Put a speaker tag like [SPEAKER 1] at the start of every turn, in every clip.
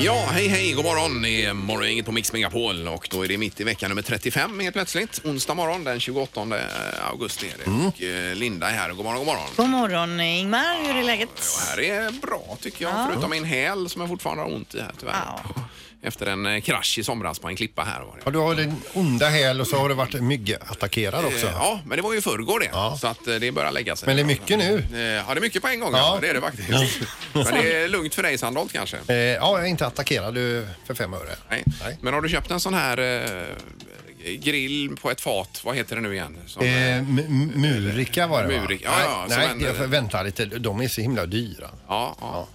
[SPEAKER 1] Ja, hej hej, god morgon. Det är morgongänget på Mix Megapol och då är det mitt i vecka nummer 35 helt plötsligt. Onsdag morgon den 28 augusti är det.
[SPEAKER 2] Mm.
[SPEAKER 1] Och eh, Linda är här. God morgon, god morgon.
[SPEAKER 3] God morgon Ingmar, hur är läget?
[SPEAKER 1] Det här är bra tycker jag,
[SPEAKER 3] Ja.
[SPEAKER 1] förutom min häl som jag fortfarande har ont i här tyvärr.
[SPEAKER 3] Ja.
[SPEAKER 1] Efter en eh, krasch i somras på en klippa här var det.
[SPEAKER 2] Ja, du har den onda häl och så har du varit myggattackerad också.
[SPEAKER 1] Eh, Ja, men det var ju i förrgår det. Så att eh, det börjar lägga sig.
[SPEAKER 2] Men det är mycket nu.
[SPEAKER 1] Eh, Ja, det är mycket på en gång. Ja.
[SPEAKER 2] Ja.
[SPEAKER 1] det är det faktiskt. Men det är lugnt för dig Sandholt kanske?
[SPEAKER 2] Eh, ja, jag är inte attackerad du, för fem öre.
[SPEAKER 1] Nej.
[SPEAKER 2] Nej.
[SPEAKER 1] Men har du köpt en sån här eh, grill på ett fat? Vad heter det nu igen? Som,
[SPEAKER 2] Eh, m- m- murika var det va?
[SPEAKER 1] Murika, ja, ja,
[SPEAKER 2] nej,
[SPEAKER 1] som en-
[SPEAKER 2] nej jag får vänta lite. De är så himla dyra.
[SPEAKER 1] Ja, ja.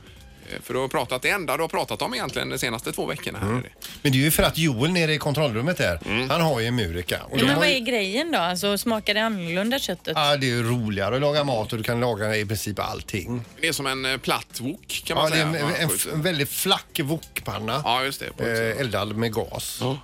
[SPEAKER 1] Eh, För du har pratat, det enda du har pratat om egentligen de senaste två veckorna.
[SPEAKER 2] Mm.
[SPEAKER 1] Här. är det.
[SPEAKER 2] Men det är ju för att Joel nere i kontrollrummet där,
[SPEAKER 1] Mm.
[SPEAKER 2] han har ju murika. Och
[SPEAKER 3] Ja,
[SPEAKER 2] de
[SPEAKER 3] men
[SPEAKER 2] har
[SPEAKER 3] vad
[SPEAKER 2] ju-
[SPEAKER 3] är grejen då? Alltså smakar det annorlunda köttet?
[SPEAKER 2] Ja, det är ju roligare att laga mat och du kan laga i princip allting.
[SPEAKER 1] Det är som en eh, platt wok kan man
[SPEAKER 2] Ja, det är
[SPEAKER 1] säga.
[SPEAKER 2] en,
[SPEAKER 1] Ja,
[SPEAKER 2] en,
[SPEAKER 1] på ett-
[SPEAKER 2] en väldigt flack wokpanna.
[SPEAKER 1] ja, just det. På ett,
[SPEAKER 2] Eh, eldad med gas.
[SPEAKER 1] Ja.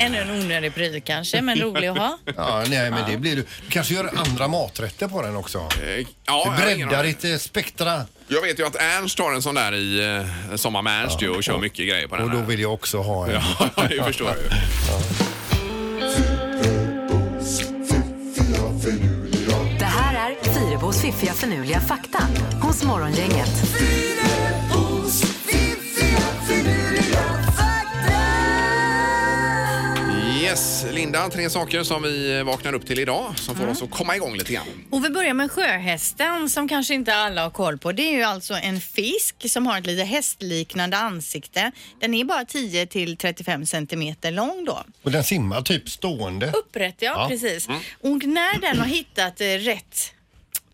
[SPEAKER 3] Ännu en onödig pryl kanske, men rolig att ha.
[SPEAKER 2] Ja, nej, men det blir du. kanske gör andra maträtter på den också.
[SPEAKER 1] Eh, ja, jag
[SPEAKER 2] Du
[SPEAKER 1] har ingen
[SPEAKER 2] breddar
[SPEAKER 1] aning.
[SPEAKER 2] ditt eh, spektra.
[SPEAKER 1] Jag vet ju att Ernst har en sån där i eh, Sommar med Ernst ju och kör mycket grejer på den
[SPEAKER 2] Och då
[SPEAKER 1] här.
[SPEAKER 2] vill jag också ha en.
[SPEAKER 1] Ja, det förstår jag ju.
[SPEAKER 4] Det här är Fyrabos fiffiga förnuliga fakta hos Morgongänget.
[SPEAKER 1] Yes, Linda, tre saker som vi vaknar upp till idag som får oss att komma igång lite grann.
[SPEAKER 3] Och vi börjar med sjöhästen som kanske inte alla har koll på. Det är ju alltså en fisk som har ett lite hästliknande ansikte. Den är bara 10 till 35 centimeter lång då.
[SPEAKER 2] Och den simmar typ stående.
[SPEAKER 3] Upprätt, ja,
[SPEAKER 2] Ja.
[SPEAKER 3] precis.
[SPEAKER 1] Mm.
[SPEAKER 3] Och när den har hittat eh, rätt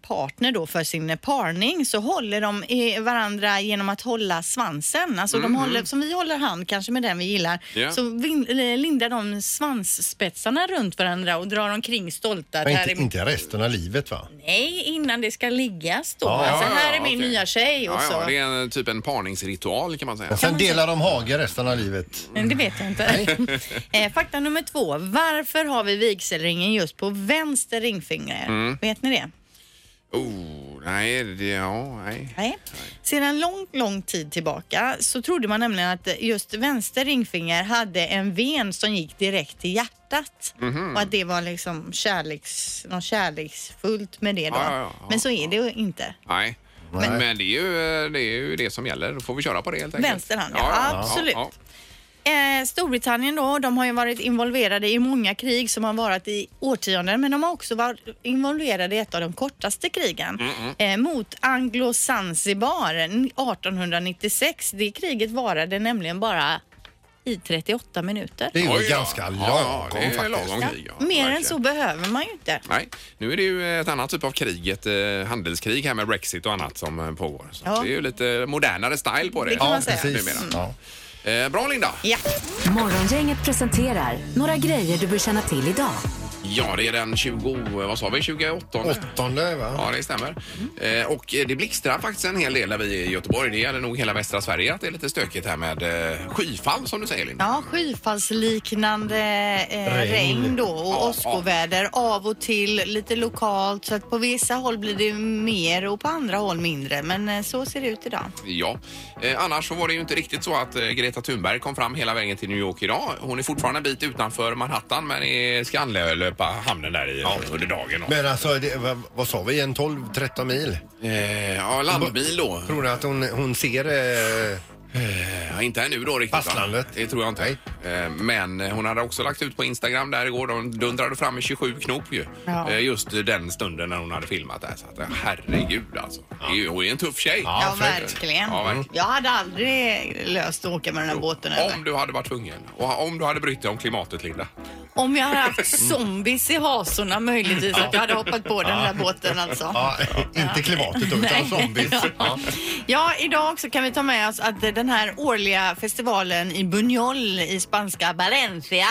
[SPEAKER 3] partner då för sin eh, parning så håller de eh, varandra genom att hålla svansen. Alltså de håller, som vi håller hand kanske med den vi gillar,
[SPEAKER 1] Mm-hmm. Ja.
[SPEAKER 3] så vin- eh, lindar de svansspetsarna runt varandra och drar omkring stolta. att
[SPEAKER 2] Men
[SPEAKER 3] här
[SPEAKER 2] inte,
[SPEAKER 3] är
[SPEAKER 2] inte resten av livet va?
[SPEAKER 3] Nej, innan det ska liggas då.
[SPEAKER 2] Ja,
[SPEAKER 3] alltså,
[SPEAKER 1] ja,
[SPEAKER 3] här
[SPEAKER 1] ja,
[SPEAKER 3] är min
[SPEAKER 1] okej.
[SPEAKER 3] nya tjej och
[SPEAKER 1] Ja,
[SPEAKER 3] så.
[SPEAKER 1] ja, det är en, typ en parningsritual kan man säga.
[SPEAKER 2] Och sen delar de hage resten av livet.
[SPEAKER 3] Men det vet jag inte. eh, fakta nummer två. Varför har vi vigselringen just på vänster ringfinger?
[SPEAKER 1] Mm.
[SPEAKER 3] Vet ni det?
[SPEAKER 1] Oh, nej, det, ja, nej.
[SPEAKER 3] Nej. Sedan lång, lång tid tillbaka så trodde man nämligen att just vänster ringfinger hade en ven som gick direkt till hjärtat
[SPEAKER 1] Mhm.
[SPEAKER 3] och att det var liksom kärleks, något kärleksfullt med det då.
[SPEAKER 1] Ja, ja, ja, ja.
[SPEAKER 3] Men så är det ju inte.
[SPEAKER 1] nej.
[SPEAKER 2] Nej.
[SPEAKER 1] Men, det, är ju, det är ju det som gäller. Då får vi köra på det helt enkelt.
[SPEAKER 3] Vänster hand, ja. Absolut.
[SPEAKER 1] ja.
[SPEAKER 3] Eh, Storbritannien då, de har ju varit involverade i många krig som har varit i årtionden men de har också varit involverade i ett av de kortaste krigen. Eh, mot Anglo-Zanzibar 1896. Det kriget varade nämligen bara i 38 minuter.
[SPEAKER 2] Det är ju
[SPEAKER 1] Oj, ja.
[SPEAKER 2] ganska lagom
[SPEAKER 1] ja, ja, det är
[SPEAKER 2] faktiskt.
[SPEAKER 1] lagom krig, ja,
[SPEAKER 3] Mer än
[SPEAKER 1] verkligen.
[SPEAKER 3] så behöver man ju inte.
[SPEAKER 1] Nej, nu är det ju ett annat typ av krig, ett eh, handelskrig här med Brexit och annat som eh, pågår. Så
[SPEAKER 3] Ja.
[SPEAKER 1] Det är ju lite modernare style på det.
[SPEAKER 3] Det kan
[SPEAKER 2] Ja,
[SPEAKER 3] man säga.
[SPEAKER 2] precis.
[SPEAKER 1] Numera.
[SPEAKER 2] Ja.
[SPEAKER 1] Eh, bra Linda!
[SPEAKER 3] Ja.
[SPEAKER 4] Morgongänget presenterar några grejer du bör känna till idag.
[SPEAKER 1] Ja, det är den 20, vad sa vi, 28?
[SPEAKER 2] Åttonde va?
[SPEAKER 1] Ja, det stämmer. Eh, och eh, det blixtrar faktiskt en hel del när vi är i Göteborg. Det gäller nog hela västra Sverige att det är lite stökigt här med eh, skyfall som du säger Linda.
[SPEAKER 3] Ja, skyfallsliknande eh, regn.
[SPEAKER 2] Regn.
[SPEAKER 3] då och
[SPEAKER 1] Ja,
[SPEAKER 3] åskoväder av och till, lite lokalt. Så att på vissa håll blir det mer och på andra håll mindre. Men eh, så ser det ut idag.
[SPEAKER 1] Ja, eh, annars så var det ju inte riktigt så att eh, Greta Thunberg kom fram hela vägen till New York idag. Hon är fortfarande en bit utanför Manhattan men eh, ska anlöpa hamnen där i, under dagen. då.
[SPEAKER 2] Men alltså, det, vad, vad sa vi? En 12-13 mil?
[SPEAKER 1] Eh, ja, landbil då.
[SPEAKER 2] Tror ni att hon, hon ser... Eh,
[SPEAKER 1] Ja, inte ännu då riktigt. va?
[SPEAKER 2] Fastlandet.
[SPEAKER 1] Det tror jag inte. Eh, Men eh, hon hade också lagt ut på Instagram där igår. De dundrade fram i 27 knop ju.
[SPEAKER 3] Ja.
[SPEAKER 1] Eh, Just den stunden när hon hade filmat där. Så att, eh, herregud alltså. Det är ju- Hon är en tuff tjej.
[SPEAKER 3] Ja,
[SPEAKER 2] för-
[SPEAKER 3] verkligen.
[SPEAKER 1] Ja, verkligen.
[SPEAKER 3] Jag hade aldrig löst att åka med den här båten över.
[SPEAKER 1] Om du hade varit tvungen. Och om du hade brytt dig om klimatet, Linda.
[SPEAKER 3] Om jag hade haft
[SPEAKER 1] Mm.
[SPEAKER 3] zombies i hasorna möjligtvis att jag hade hoppat på den där båten alltså.
[SPEAKER 2] ja, inte klimatet då, utan
[SPEAKER 3] Nej.
[SPEAKER 2] zombies. Ja.
[SPEAKER 3] Ja, idag också kan vi ta med oss att den här årliga festivalen i Buñol i spanska Valencia,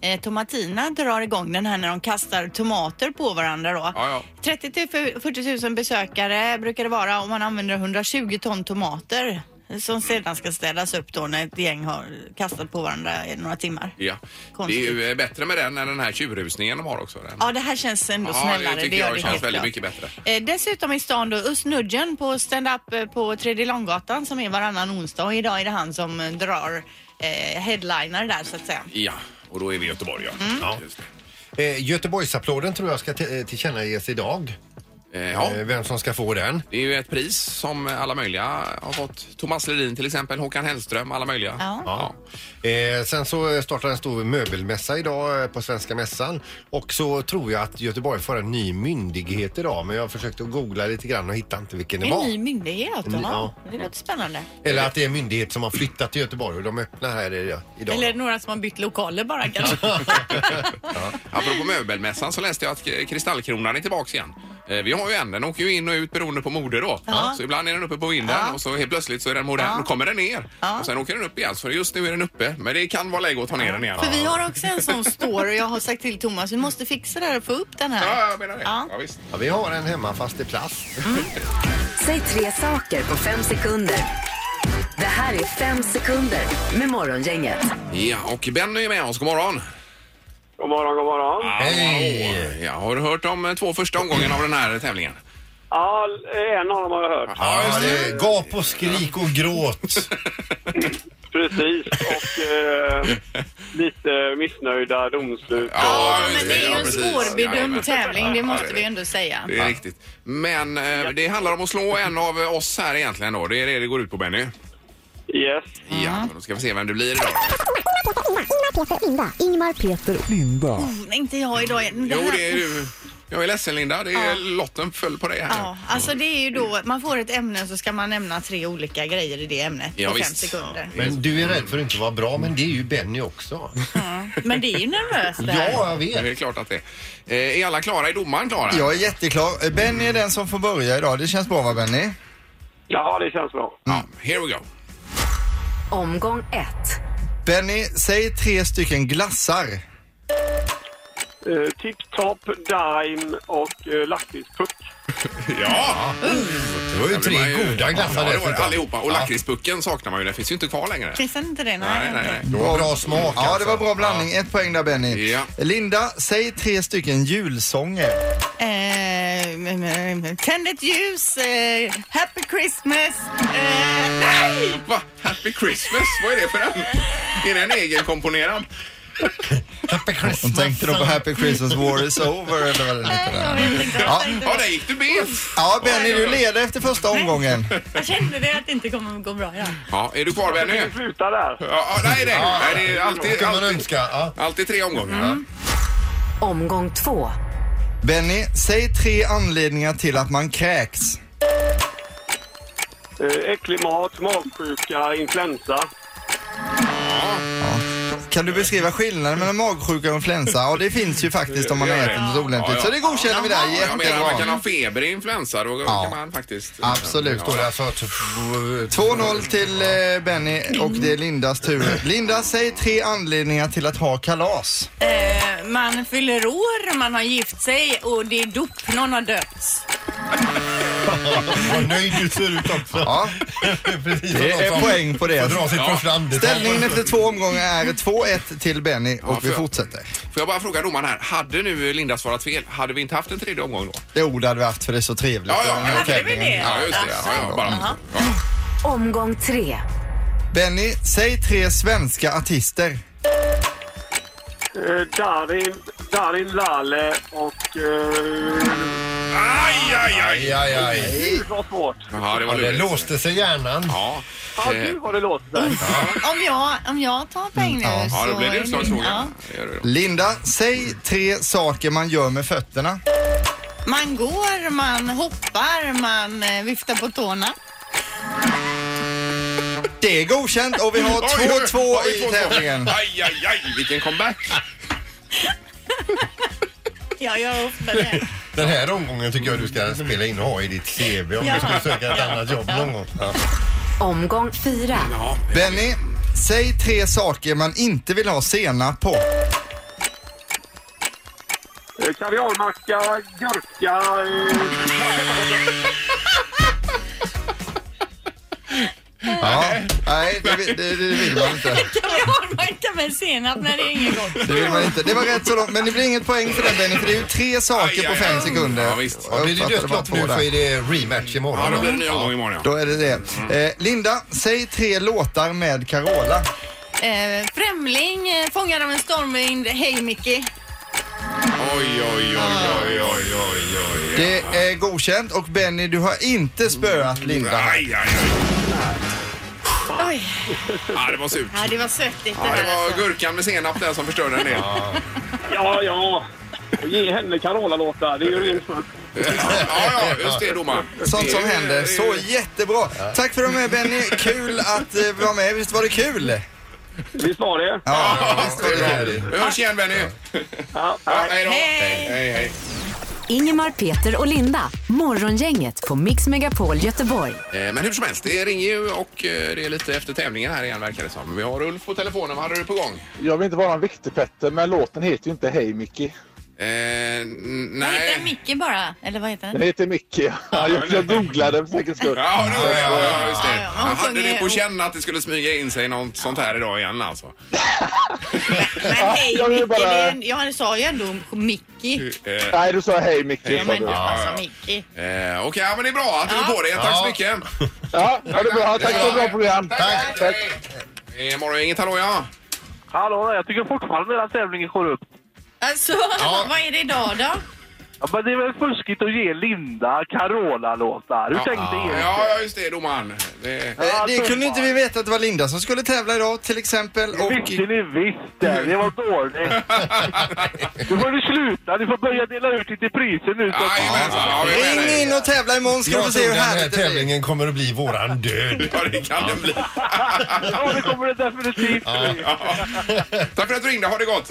[SPEAKER 3] eh, Tomatina drar igång den här när de kastar tomater på varandra då.
[SPEAKER 1] Ja, ja.
[SPEAKER 3] 30 till 40 000 besökare brukar det vara om man använder 120 ton tomater. Som sedan ska städas upp då när ett gäng har kastat på varandra i några timmar.
[SPEAKER 1] Ja.
[SPEAKER 3] Konstigt.
[SPEAKER 1] Det är ju eh, bättre med den än den här tjurrusningen de har också. Den.
[SPEAKER 3] Ja, det här känns ändå
[SPEAKER 1] Ja, det
[SPEAKER 3] snällare.
[SPEAKER 1] tycker
[SPEAKER 3] gör
[SPEAKER 1] jag känns
[SPEAKER 3] helt
[SPEAKER 1] väldigt
[SPEAKER 3] klart.
[SPEAKER 1] mycket bättre.
[SPEAKER 3] Eh, dessutom i stan då, Özz Nudgen på stand-up eh, på Tredje Långgatan som är varannan onsdag och idag är det han som eh, drar eh, headliner där så att säga.
[SPEAKER 1] Ja, och då är vi i Göteborg. Ja.
[SPEAKER 3] Mm.
[SPEAKER 1] Ja. just
[SPEAKER 2] Eh, Göteborgsapplåden tror jag ska t- eh, tillkännages idag.
[SPEAKER 1] det. Eh, ja.
[SPEAKER 2] Eh, vem som ska få den.
[SPEAKER 1] Det är ju ett pris som alla möjliga har fått. Thomas Ledin till exempel, Håkan Hellström, alla möjliga.
[SPEAKER 3] Ja.
[SPEAKER 1] Ja.
[SPEAKER 2] Eh, sen så startar en stor möbelmässa idag eh, på Svenska Mässan. Och så tror jag att Göteborg får en ny myndighet idag. Men jag försökte att googla lite grann och hittade inte vilken det
[SPEAKER 3] En ny
[SPEAKER 2] var.
[SPEAKER 3] myndighet,
[SPEAKER 2] En ny-
[SPEAKER 3] ja.
[SPEAKER 2] ja.
[SPEAKER 3] Det låter spännande.
[SPEAKER 2] Eller att det är en myndighet som har flyttat till Göteborg och de öppnar här i- idag.
[SPEAKER 3] Eller några som har bytt lokaler bara kanske.
[SPEAKER 1] Apropå möbelmässan så läste jag att K- Kristallkronan är tillbaks igen. Eh, Vi har ju en, den åker ju in och ut beroende på mode då. Så ibland är den uppe på vinden och så helt plötsligt så är den modern. Då kommer den ner och sen åker den upp igen. Så just nu är den uppe, men det kan vara läge att ta ner den igen.
[SPEAKER 3] För vi har också en sån store och jag har sagt till Thomas vi måste fixa det här och få upp den här.
[SPEAKER 1] Ja, jag menar det.
[SPEAKER 3] Ja.
[SPEAKER 1] Ja. visst.
[SPEAKER 2] Ja, vi har en hemma fast i plast.
[SPEAKER 4] Säg tre saker på fem sekunder. Det här är fem sekunder med Morgongänget.
[SPEAKER 1] Ja, och Benny är med oss. God morgon!
[SPEAKER 5] God morgon, god morgon.
[SPEAKER 2] Hej!
[SPEAKER 1] Ja, har du hört om eh, två första omgången av den här tävlingen?
[SPEAKER 5] Ja, en av dem har jag hört.
[SPEAKER 2] Ja, det är gap och skrik och gråt.
[SPEAKER 5] Precis. Och eh, lite missnöjda domslut.
[SPEAKER 1] Ja,
[SPEAKER 3] Ja, men det är ju
[SPEAKER 1] ja,
[SPEAKER 3] en
[SPEAKER 1] precis.
[SPEAKER 3] svårbedömd
[SPEAKER 1] Jajamän.
[SPEAKER 3] tävling, det
[SPEAKER 1] Ja,
[SPEAKER 3] måste
[SPEAKER 1] det är
[SPEAKER 3] vi
[SPEAKER 1] det.
[SPEAKER 3] ändå säga.
[SPEAKER 1] Det är riktigt. Men eh, det handlar om att slå en av oss här egentligen då. Det är det det går ut på Benny.
[SPEAKER 5] Yes.
[SPEAKER 3] Mm.
[SPEAKER 1] Ja, då ska vi se vem du blir idag.
[SPEAKER 6] Ingmar, Peter och Linda.
[SPEAKER 3] Oh, nej, inte jag idag. Det
[SPEAKER 1] Jo,
[SPEAKER 3] här-
[SPEAKER 1] det är du. Jag är ledsen Linda, det är lotten föll på dig här.
[SPEAKER 3] Ja, alltså det är ju då, man får ett ämne så ska man nämna tre olika grejer i det ämnet
[SPEAKER 1] Ja,
[SPEAKER 3] på fem
[SPEAKER 1] visst.
[SPEAKER 3] sekunder.
[SPEAKER 2] Men du är rädd för att inte vara bra, men det är ju Benny också.
[SPEAKER 3] Men det är ju nervöst det här.
[SPEAKER 2] Ja, jag
[SPEAKER 1] Det är
[SPEAKER 2] vet.
[SPEAKER 1] klart att det är. Eh, Är alla klara? Är domaren klara?
[SPEAKER 7] Jag är jätteklar. Benny är den som får börja idag. Det känns bra va Benny?
[SPEAKER 5] Ja, det känns bra.
[SPEAKER 1] Ja, here we go.
[SPEAKER 4] Omgång ett.
[SPEAKER 7] Benny, säg tre stycken glassar.
[SPEAKER 5] Eh, Tip Top, Dime och eh, Lakritspuck.
[SPEAKER 1] Ja!
[SPEAKER 2] Det var ju tre goda glassar
[SPEAKER 1] ja, det var det,
[SPEAKER 2] dessutom.
[SPEAKER 1] allihopa. Och lakritspucken saknar man ju, den finns ju inte kvar längre.
[SPEAKER 3] Finns det inte det?
[SPEAKER 1] Nej, nej, nej.
[SPEAKER 2] Det var bra smak alltså.
[SPEAKER 7] Ja, det var bra blandning. Ett poäng där Benny.
[SPEAKER 1] Ja.
[SPEAKER 7] Linda, säg tre stycken julsånger.
[SPEAKER 3] Eh, mm, mm, tänd ett ljus, eh, happy christmas. Eh, nej!
[SPEAKER 1] Va? Happy Christmas? Vad är det för en? Är den egenkomponerad?
[SPEAKER 2] Happy
[SPEAKER 7] De
[SPEAKER 2] Christmas.
[SPEAKER 7] tänkte då på Happy Christmas War is over eller vad det
[SPEAKER 3] Nej,
[SPEAKER 7] heter.
[SPEAKER 3] jag vet inte. Jag
[SPEAKER 7] Ja.
[SPEAKER 3] tänkte-
[SPEAKER 1] Ja, där gick du bet!
[SPEAKER 7] Ja, Benny du leder efter första omgången.
[SPEAKER 3] Jag kände det att det inte kommer att gå bra. Ja.
[SPEAKER 1] Ja, är du kvar Benny?
[SPEAKER 5] Vi slutar där.
[SPEAKER 1] Ja, ja, nej, nej. nej det är alltid,
[SPEAKER 2] Kan man
[SPEAKER 1] alltid,
[SPEAKER 2] önska. Ja.
[SPEAKER 1] alltid tre omgångar.
[SPEAKER 4] Omgång två.
[SPEAKER 7] Benny, säg tre anledningar till att man kräks.
[SPEAKER 5] Eh, äcklig mat, magsjuka, influensa.
[SPEAKER 7] Kan du beskriva skillnaden mellan magsjuka och influensa? Ja, det finns ju faktiskt om man
[SPEAKER 1] Ja, ja.
[SPEAKER 7] äter något olämpligt. Så det godkänner vi där.
[SPEAKER 1] Ja, jag menar, man kan
[SPEAKER 7] Jättebra.
[SPEAKER 1] ha feber i influensa. Då kan man faktiskt...
[SPEAKER 7] Absolut.
[SPEAKER 2] Står det alltså... typ, t-
[SPEAKER 7] 2-0 till eh, Benny och det är Lindas tur. Linda, säg tre anledningar till att ha kalas.
[SPEAKER 8] Eh, Man fyller år, man har gift sig och det är dop, någon har döpts.
[SPEAKER 2] Vad nöjd du ser ut också.
[SPEAKER 7] Ja,
[SPEAKER 2] Precis som
[SPEAKER 7] det
[SPEAKER 2] någon
[SPEAKER 7] är
[SPEAKER 2] som
[SPEAKER 7] poäng på
[SPEAKER 2] får
[SPEAKER 7] det.
[SPEAKER 2] Dra sitt
[SPEAKER 1] Ja.
[SPEAKER 2] första andetag.
[SPEAKER 7] Ställningen efter två omgångar är 2-1 till Benny
[SPEAKER 1] Ja,
[SPEAKER 7] och vi
[SPEAKER 1] för-
[SPEAKER 7] fortsätter.
[SPEAKER 1] Får jag bara fråga domaren här. Hade nu Linda svarat fel, hade vi inte haft en tredje omgång då?
[SPEAKER 7] Det ord hade vi haft för det är så trevligt.
[SPEAKER 1] Ja, ja,
[SPEAKER 7] Den här
[SPEAKER 1] ja, det är väl
[SPEAKER 7] tävlingen.
[SPEAKER 8] det.
[SPEAKER 1] Ja, just det. Ja,
[SPEAKER 7] Alltså.
[SPEAKER 1] ja, bara.
[SPEAKER 4] Omgång tre.
[SPEAKER 7] Benny, säg tre svenska artister.
[SPEAKER 5] Eh, Darin, Darin Lalle och... Eh,
[SPEAKER 1] Aj, aj, aj!
[SPEAKER 2] Aj, aj, aj.
[SPEAKER 5] det var svårt.
[SPEAKER 1] Ja, det
[SPEAKER 2] Ja,
[SPEAKER 1] var
[SPEAKER 2] det
[SPEAKER 1] lurigt.
[SPEAKER 2] låste sig hjärnan.
[SPEAKER 1] Ja.
[SPEAKER 5] Ja, gud vad det låter där.
[SPEAKER 3] Om, jag, om jag tar poäng nu så...
[SPEAKER 1] Mm. ja, då blir det
[SPEAKER 3] Ja.
[SPEAKER 1] utslagsfråga. Det gör det då.
[SPEAKER 7] Linda, säg tre saker man gör med fötterna.
[SPEAKER 3] Man går, man hoppar, man eh, viftar på tårna.
[SPEAKER 7] Det är godkänt och vi har
[SPEAKER 1] Oj, oj, oj,
[SPEAKER 7] 2-2
[SPEAKER 1] oj,
[SPEAKER 7] i
[SPEAKER 1] 2-2.
[SPEAKER 7] tävlingen.
[SPEAKER 1] Aj, aj, aj! Vilken comeback!
[SPEAKER 3] Ja, jag gör ofta det.
[SPEAKER 2] Den här omgången tycker jag du ska spela in och ha i ditt CV om du ska söka ett annat jobb någon gång. Ja.
[SPEAKER 4] Omgång fyra.
[SPEAKER 1] Ja.
[SPEAKER 7] Benny, säg tre saker man inte vill ha senap på.
[SPEAKER 5] Eh, Kaviarmacka, gurka... Eh,
[SPEAKER 7] Ja. Nej, det, vill- det, det vill man inte.
[SPEAKER 8] Kan vi avverka med senap när det är inget gott?
[SPEAKER 7] Det vill man inte. Det var rätt så långt, men det blir inget poäng för den Benny, för det är ju tre saker
[SPEAKER 1] Aj,
[SPEAKER 7] på
[SPEAKER 1] aj,
[SPEAKER 7] fem
[SPEAKER 1] aj.
[SPEAKER 7] sekunder.
[SPEAKER 1] Ja, visst.
[SPEAKER 7] Jag
[SPEAKER 2] Blir det
[SPEAKER 7] uppfattade bara
[SPEAKER 2] dödsstraff nu
[SPEAKER 7] två
[SPEAKER 2] så
[SPEAKER 7] där.
[SPEAKER 2] är det rematch imorgon.
[SPEAKER 1] Ja, då blir det ny omgång imorgon. Ja.
[SPEAKER 7] Då är det det.
[SPEAKER 2] Mm.
[SPEAKER 7] Eh, Linda, säg tre låtar med Carola.
[SPEAKER 8] Eh, främling, eh, fångad av en stormvind. Hej Mickey.
[SPEAKER 1] Oj, oj, oj, oj, oj, oj, oj.
[SPEAKER 7] Det är godkänt och Benny, du har inte spöat Linda. här.
[SPEAKER 1] Aj, aj, aj.
[SPEAKER 3] Oj,
[SPEAKER 1] Ja, det var surt.
[SPEAKER 3] ja, det var svettigt det
[SPEAKER 1] Ja, det
[SPEAKER 3] här
[SPEAKER 1] var
[SPEAKER 3] alltså.
[SPEAKER 1] gurkan med senap där som förstörde en del.
[SPEAKER 5] Ja, ja. Ge henne Carola-låtar. Det är ju ren smuts.
[SPEAKER 1] Ja, ja, just det domaren.
[SPEAKER 7] Sånt som
[SPEAKER 1] Det är ju-
[SPEAKER 7] händer.
[SPEAKER 1] det är
[SPEAKER 7] Så
[SPEAKER 1] ju-
[SPEAKER 7] jättebra. Tack för att du var med Benny. Kul att eh, vara med. Visst var det kul?
[SPEAKER 5] Visst var det?
[SPEAKER 7] Ja, visst
[SPEAKER 1] Det
[SPEAKER 7] var det
[SPEAKER 1] är
[SPEAKER 7] kul.
[SPEAKER 1] bra. Vi hörs igen Benny.
[SPEAKER 5] Ja,
[SPEAKER 1] Ja,
[SPEAKER 5] nej.
[SPEAKER 1] hej då.
[SPEAKER 8] Hej.
[SPEAKER 1] hej, hej.
[SPEAKER 4] Ingemar, Peter och Linda. Morgongänget på Mix Megapol Göteborg.
[SPEAKER 1] Eh, Men hur som helst, det ringer ju och eh, det är lite efter tävlingen här igen verkar det som. Vi har Ulf på telefonen, vad hade du på gång?
[SPEAKER 9] Jag vill inte vara en viktig Petter, men låten heter ju inte Hej Mickey.
[SPEAKER 1] Eh, n-
[SPEAKER 8] Vad heter den?
[SPEAKER 1] nej.
[SPEAKER 8] Micke bara? Eller vad heter den?
[SPEAKER 9] Den heter Mickey. Jag, jag googlade för säkerhets skull.
[SPEAKER 1] Ja, nu, ja, ja, ja, just det.
[SPEAKER 8] ja,
[SPEAKER 1] Jag
[SPEAKER 8] hon
[SPEAKER 1] hade
[SPEAKER 8] sjunger-
[SPEAKER 1] det på känn att det skulle smyga in sig något sånt här idag igen alltså.
[SPEAKER 3] Men hej
[SPEAKER 9] jag vill
[SPEAKER 3] Micke,
[SPEAKER 9] bara-
[SPEAKER 3] det är en- jag sa ju ändå Mickey.
[SPEAKER 1] Eh,
[SPEAKER 9] Nej, du sa Hej Mickey.
[SPEAKER 1] Ja,
[SPEAKER 9] sa
[SPEAKER 3] Men
[SPEAKER 9] du.
[SPEAKER 3] alltså Mickey.
[SPEAKER 1] Eh, Okej, ja, men det är bra att du är på det. Tack så mycket.
[SPEAKER 9] Ja, ja, det är bra. Tack för ett bra program.
[SPEAKER 1] Tack. Tack. Eh, morgon, inget hallå ja.
[SPEAKER 5] Hallå, jag tycker fortfarande den här tävlingen går upp.
[SPEAKER 8] Alltså, vad är det idag då?
[SPEAKER 5] Ja, men det är väl fuskigt att ge Linda Carola-låtar? Hur tänkte ni?
[SPEAKER 1] Ja, ja, just det domaren. Det...
[SPEAKER 7] Eh, Det kunde inte vi veta att det var Linda som skulle tävla idag till exempel.
[SPEAKER 5] Det
[SPEAKER 7] Och
[SPEAKER 5] visste ni visst det. Det var dåligt. Nu får ni sluta. Ni får börja dela ut lite priser nu. Så att...
[SPEAKER 1] Jajamensan, ja, vi är med
[SPEAKER 7] ring
[SPEAKER 1] dig.
[SPEAKER 7] in och tävla imorgon ska du få
[SPEAKER 2] Jag tror
[SPEAKER 7] se hur
[SPEAKER 2] den här
[SPEAKER 7] härligt det blir.
[SPEAKER 2] tävlingen kommer att bli våran död.
[SPEAKER 1] Ja, det kan det bli.
[SPEAKER 5] Ja, det kommer det definitivt bli.
[SPEAKER 1] Tack för att du ringde. Ha det gott.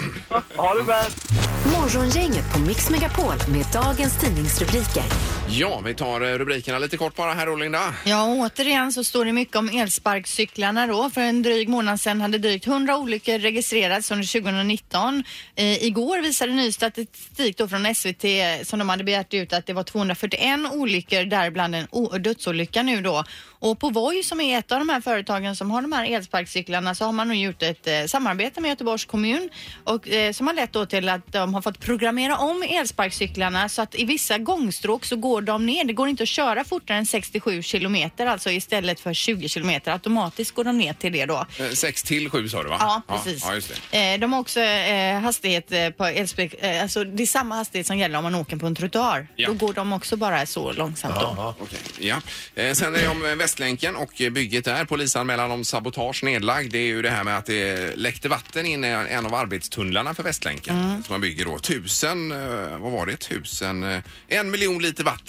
[SPEAKER 5] Ha det bäst.
[SPEAKER 4] Morgongänget på Mix Megapol med dagens tidningsrubriker.
[SPEAKER 1] Ja, vi tar eh, rubrikerna lite kort bara här, då, Linda.
[SPEAKER 3] Ja, och återigen så står det mycket om elsparkcyklarna då. För en dryg månad sedan hade drygt 100 olyckor registrerats under 2019. Eh, igår visade ny statistik då från SVT eh, som de hade begärt ut att det var 241 olyckor, däribland en o- dödsolycka nu då. Och på Voi som är ett av de här företagen som har de här elsparkcyklarna så har man nu gjort ett eh, samarbete med Göteborgs kommun och, eh, som har lett då till att de har fått programmera om elsparkcyklarna så att i vissa gångstråk så går de ner. Det går inte att köra fortare än 67 kilometer, alltså istället för 20 kilometer. Automatiskt går de ner till det då.
[SPEAKER 1] Eh, Sex till sju sa du, va?
[SPEAKER 3] Ja, precis.
[SPEAKER 1] Ja, just det.
[SPEAKER 3] Eh, De har också eh, hastighet eh, på elspark... eh, Alltså det är samma hastighet som gäller om man åker på en trottoar.
[SPEAKER 1] Ja.
[SPEAKER 3] Då går de också bara så långsamt då.
[SPEAKER 1] Okej, ja. Eh, Sen är det om eh, Västlänken och eh, bygget där. Polisanmälan om sabotage nedlagd. Det är ju det här med att det läckte vatten in i en av arbetstunnlarna för Västlänken som man bygger då. Tusen, eh, vad var det? Tusen, eh, en miljon liter vatten.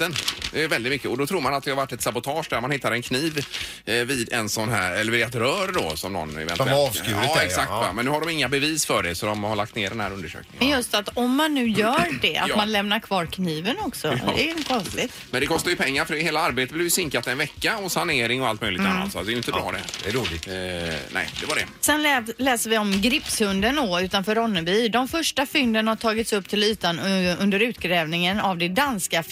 [SPEAKER 1] Det är väldigt mycket och då tror man att det har varit ett sabotage där man hittar en kniv eh, vid en sån här, eller vid ett rör då som någon eventuellt.
[SPEAKER 2] har avskurit
[SPEAKER 1] Ja,
[SPEAKER 2] det,
[SPEAKER 1] exakt.
[SPEAKER 2] ja.
[SPEAKER 1] Va? Men nu har de inga bevis för det så de har lagt ner den här undersökningen.
[SPEAKER 3] Men just att om man nu gör det, att
[SPEAKER 1] Ja.
[SPEAKER 3] man lämnar kvar kniven också. Det är ju konstigt.
[SPEAKER 1] Men det kostar ju pengar för hela arbetet blir ju sinkat en vecka och sanering och allt möjligt annat. Så det är ju inte bra det.
[SPEAKER 2] Det är roligt.
[SPEAKER 1] Eh, nej, det var det.
[SPEAKER 3] Sen lä läser vi om Gripshunden då, utanför Ronneby. De första fynden har tagits upp till ytan eh, under utgrävningen av det danska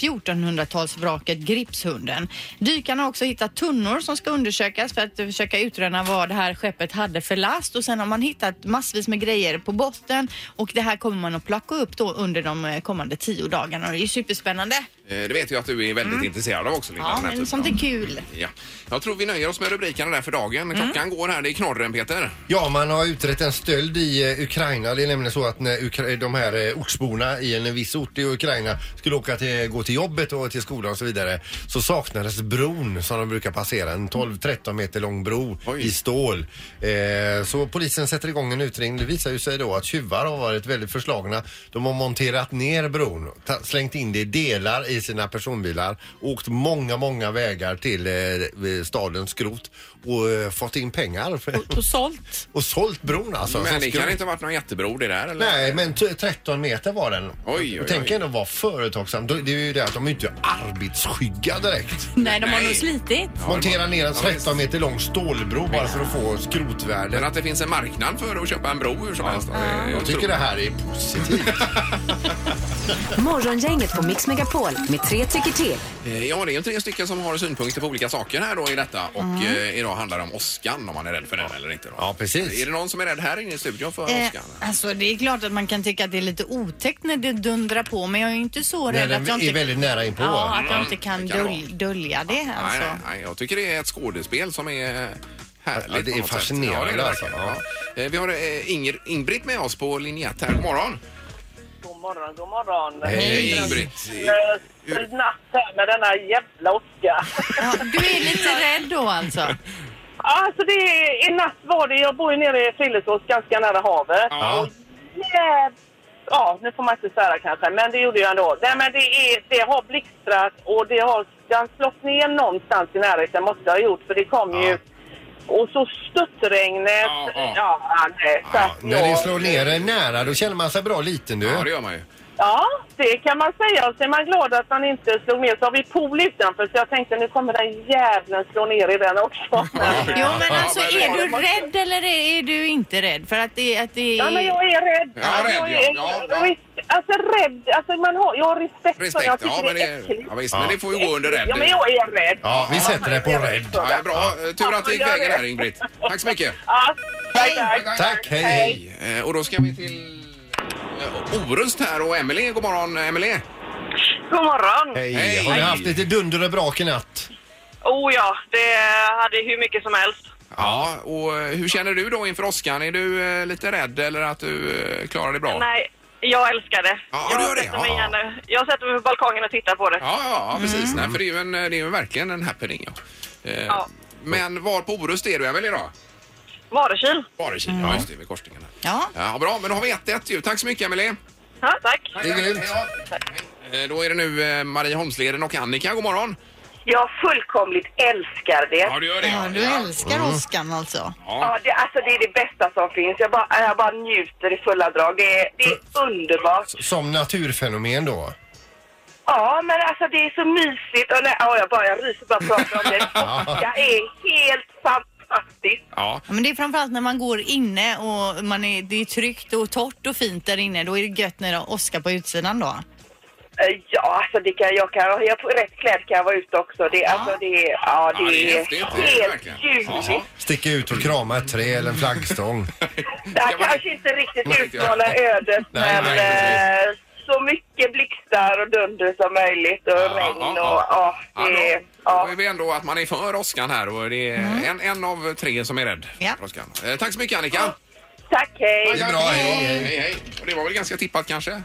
[SPEAKER 3] 1400-talsvraket Gripshunden. Dykarna har också hittat tunnor som ska undersökas för att eh, försöka utröna vad det här skeppet hade för last. Och sen har man hittat massvis med grejer på botten och det här kommer man att plocka upp då under de eh, kommande tio dagarna. Och det är ju superspännande.
[SPEAKER 1] Eh, det vet jag att du är väldigt intresserad av också, Linda.
[SPEAKER 3] Mm. Ja,
[SPEAKER 1] den här
[SPEAKER 3] men
[SPEAKER 1] typen
[SPEAKER 3] sånt
[SPEAKER 1] av-
[SPEAKER 3] är kul. Mm.
[SPEAKER 1] Ja. Jag tror vi nöjer oss med rubrikerna där för dagen. Klockan går här. Det är knorren, Peter.
[SPEAKER 2] Ja, man har utrett en stöld i eh, Ukraina. Det är nämligen så att när Ukra- de här eh, ortsborna i en viss ort i Ukraina skulle åka till, gå till jobbet och till skolan och så vidare så saknades bron som de brukar passera. En 12-13 meter lång bro
[SPEAKER 1] Oj.
[SPEAKER 2] i stål. Eh, så polisen sätter igång en utredning. Det visar ju sig då att tjuvar har varit väldigt förslagna. De har monterat ner bron, ta- slängt in det i delar i sina personbilar, åkt många, många vägar till eh, stadens skrot och eh, fått in pengar. för-
[SPEAKER 3] Och, och sålt.
[SPEAKER 2] och sålt bron alltså.
[SPEAKER 1] Men
[SPEAKER 2] Som
[SPEAKER 1] det
[SPEAKER 2] skulle-
[SPEAKER 1] kan inte ha varit någon jättebro det där, eller?
[SPEAKER 2] Nej, men t- 13 meter var den.
[SPEAKER 1] oj, oj.
[SPEAKER 2] Och Tänk ändå vara företagsam. Då- Det är ju det att de är inte arbetsskygga direkt.
[SPEAKER 8] Nej, de har
[SPEAKER 1] Nej.
[SPEAKER 8] nog slitit.
[SPEAKER 2] Montera ner en 13 meter lång stålbro bara för att få skrotvärde.
[SPEAKER 1] Men att det finns en marknad för att köpa en bro hur som helst.
[SPEAKER 2] Jag tycker det här är positivt.
[SPEAKER 4] Morgongänget på Mix Megapol med tre tycker till.
[SPEAKER 1] Eh, Ja, det är ju tre stycken som har synpunkter på olika saker här då i detta och
[SPEAKER 3] Mm.
[SPEAKER 1] eh, idag handlar det om åskan om man är rädd för den eller inte. Då.
[SPEAKER 2] Ja, precis.
[SPEAKER 1] Är det någon som är rädd här inne i studion för
[SPEAKER 3] Eh,
[SPEAKER 1] åskan?
[SPEAKER 3] alltså det är klart att man kan tycka att det är lite otäckt när det dundrar på men jag är ju inte så
[SPEAKER 2] När
[SPEAKER 3] rädd
[SPEAKER 2] den
[SPEAKER 3] att jag
[SPEAKER 2] är
[SPEAKER 3] inte,
[SPEAKER 2] väldigt nära inpå.
[SPEAKER 3] ja, att jag inte
[SPEAKER 1] det
[SPEAKER 3] kan
[SPEAKER 1] kan det
[SPEAKER 3] döl, dölja det alltså. här.
[SPEAKER 5] Alltså.
[SPEAKER 1] Nej, nej,
[SPEAKER 3] så.
[SPEAKER 1] nej, jag tycker det är ett skådespel som är härligt.
[SPEAKER 2] Ja, det är
[SPEAKER 1] på något sätt.
[SPEAKER 2] fascinerande
[SPEAKER 1] Ja, det är det
[SPEAKER 2] alltså.
[SPEAKER 1] verkligen. Ja. Eh, Vi har eh, Inger, Ingrid med oss på linje 1 här. God morgon!
[SPEAKER 5] God morgon, god morgon.
[SPEAKER 1] Hej Ingrid!
[SPEAKER 5] Sprid natt här med denna jävla åska.
[SPEAKER 3] Ja, du är lite rädd då alltså?
[SPEAKER 5] Alltså det är, i natt var det, jag bor ju nere i Frillesås ganska nära havet.
[SPEAKER 1] Ja.
[SPEAKER 5] Jäv- Ja, nu får man inte svära kanske, men det gjorde jag ändå. Nej men det, är, det har blixtrat och det har, det har slått ner någonstans i närheten måste det ha gjort för det kom ju och så studsregnet.
[SPEAKER 1] Ja, ja.
[SPEAKER 5] Ja, nej, så
[SPEAKER 2] Ja,
[SPEAKER 5] att
[SPEAKER 2] när det
[SPEAKER 5] jag-
[SPEAKER 2] slår ner en nära då känner man sig bra liten du.
[SPEAKER 1] Ja, det gör man ju.
[SPEAKER 5] Ja, det kan man säga. Och så är man glad att man inte slog ner. Så har vi pool utanför, så jag tänkte nu kommer den jävlen slå ner i den också.
[SPEAKER 3] Jo men alltså
[SPEAKER 1] men det
[SPEAKER 3] är
[SPEAKER 1] var-
[SPEAKER 3] du rädd eller är är du inte rädd? För att det, att det
[SPEAKER 5] Ja, men
[SPEAKER 3] är...
[SPEAKER 5] jag är rädd.
[SPEAKER 1] Ja, rädd,
[SPEAKER 5] jag
[SPEAKER 1] ja.
[SPEAKER 5] är,
[SPEAKER 1] Ja, ja.
[SPEAKER 5] ris- Alltså rädd. Alltså, man har, jag har respekt,
[SPEAKER 1] Respekt,
[SPEAKER 5] för jag
[SPEAKER 1] ja,
[SPEAKER 5] tycker
[SPEAKER 1] men
[SPEAKER 5] det är
[SPEAKER 1] det,
[SPEAKER 5] äckligt.
[SPEAKER 1] ja, visst, men det får ju gå under rädd.
[SPEAKER 5] Ja, men jag är rädd.
[SPEAKER 2] Ja, vi sätter det på rädd.
[SPEAKER 1] Ja, bra, Eh, tur att det gick
[SPEAKER 5] Ja, men jag
[SPEAKER 1] vägen
[SPEAKER 5] är-
[SPEAKER 1] här Ingrid. Tack så mycket!
[SPEAKER 5] Ja, tack, tack.
[SPEAKER 2] Tack, hej hej.
[SPEAKER 1] Eh, Och då ska vi till eh, Orust här och Emelie. God morgon Emelie!
[SPEAKER 5] God morgon.
[SPEAKER 1] Hej.
[SPEAKER 2] Hej. Har ni haft lite dunder och brak i natt?
[SPEAKER 5] Oh ja, det hade hur mycket som helst.
[SPEAKER 1] Ja, och eh, hur känner du då inför åskan? Är du eh, lite rädd eller att du eh, klarar det bra?
[SPEAKER 5] Nej, jag älskar det.
[SPEAKER 1] Ja, du gör det,
[SPEAKER 5] jag, sätter mig
[SPEAKER 1] ja.
[SPEAKER 5] gärna, jag sätter mig på balkongen och tittar på det.
[SPEAKER 1] Ja, ja, ja precis. Nej, för det är ju, en, det är ju verkligen en happening. Ja. Eh,
[SPEAKER 5] Ja.
[SPEAKER 1] Men var på Orust är du väl idag?
[SPEAKER 5] Varekil.
[SPEAKER 1] Varekil, ja just det, vid korsningen. där.
[SPEAKER 3] Ja.
[SPEAKER 1] Ja, bra, men då har vi 1-1 ju. Tack så mycket Emelie.
[SPEAKER 5] Ja, tack.
[SPEAKER 2] Det är grymt.
[SPEAKER 1] Eh, Då är det nu eh, Marieholmsleden och Annika, god morgon.
[SPEAKER 5] Jag fullkomligt älskar det.
[SPEAKER 1] du gör
[SPEAKER 3] Ja, du älskar åskan alltså?
[SPEAKER 5] Ja, det, alltså det är det bästa som finns. Jag bara, jag bara njuter i fulla drag. Det är, det är underbart.
[SPEAKER 2] Som naturfenomen då.
[SPEAKER 5] Ja, men alltså det är så mysigt. Och nej, ja, jag, bara, jag ryser bara pratar om det. Jag är helt fantastiskt.
[SPEAKER 1] Ja.
[SPEAKER 3] Ja, Men det är framförallt när man går inne och man är, det är tryggt och torrt och fint där inne. Då är det gött när det åskar på utsidan då.
[SPEAKER 5] Eh, Ja, alltså det kan, jag kan, jag, på rätt klädd kan jag vara ute också. Det, alltså det, är- ja, det,
[SPEAKER 1] Ja, det är
[SPEAKER 5] är
[SPEAKER 1] häftigt. Det är det
[SPEAKER 5] helt
[SPEAKER 1] verkligen. Ja.
[SPEAKER 5] ljuvligt.
[SPEAKER 2] Sticka ut och krama ett träd eller en
[SPEAKER 10] Mm.
[SPEAKER 2] flaggstång.
[SPEAKER 5] Det här
[SPEAKER 1] Ska man-
[SPEAKER 5] kanske inte riktigt
[SPEAKER 1] Nej,
[SPEAKER 5] utmanar ödet,
[SPEAKER 2] Nej,
[SPEAKER 5] men
[SPEAKER 2] nej, precis.
[SPEAKER 5] eh, så mycket blixtar och dunder som möjligt och regn och ja, det är...
[SPEAKER 1] Ja,
[SPEAKER 5] Ja.
[SPEAKER 1] då är vi ändå att man är för åskan här och det är en, en av tre som är rädd
[SPEAKER 3] Ja.
[SPEAKER 1] för åskan. Eh, tack så mycket Annika.
[SPEAKER 5] Tack, hej!
[SPEAKER 2] Det är bra, hej.
[SPEAKER 1] Hej, hej. Och det var väl ganska tippat kanske? eh,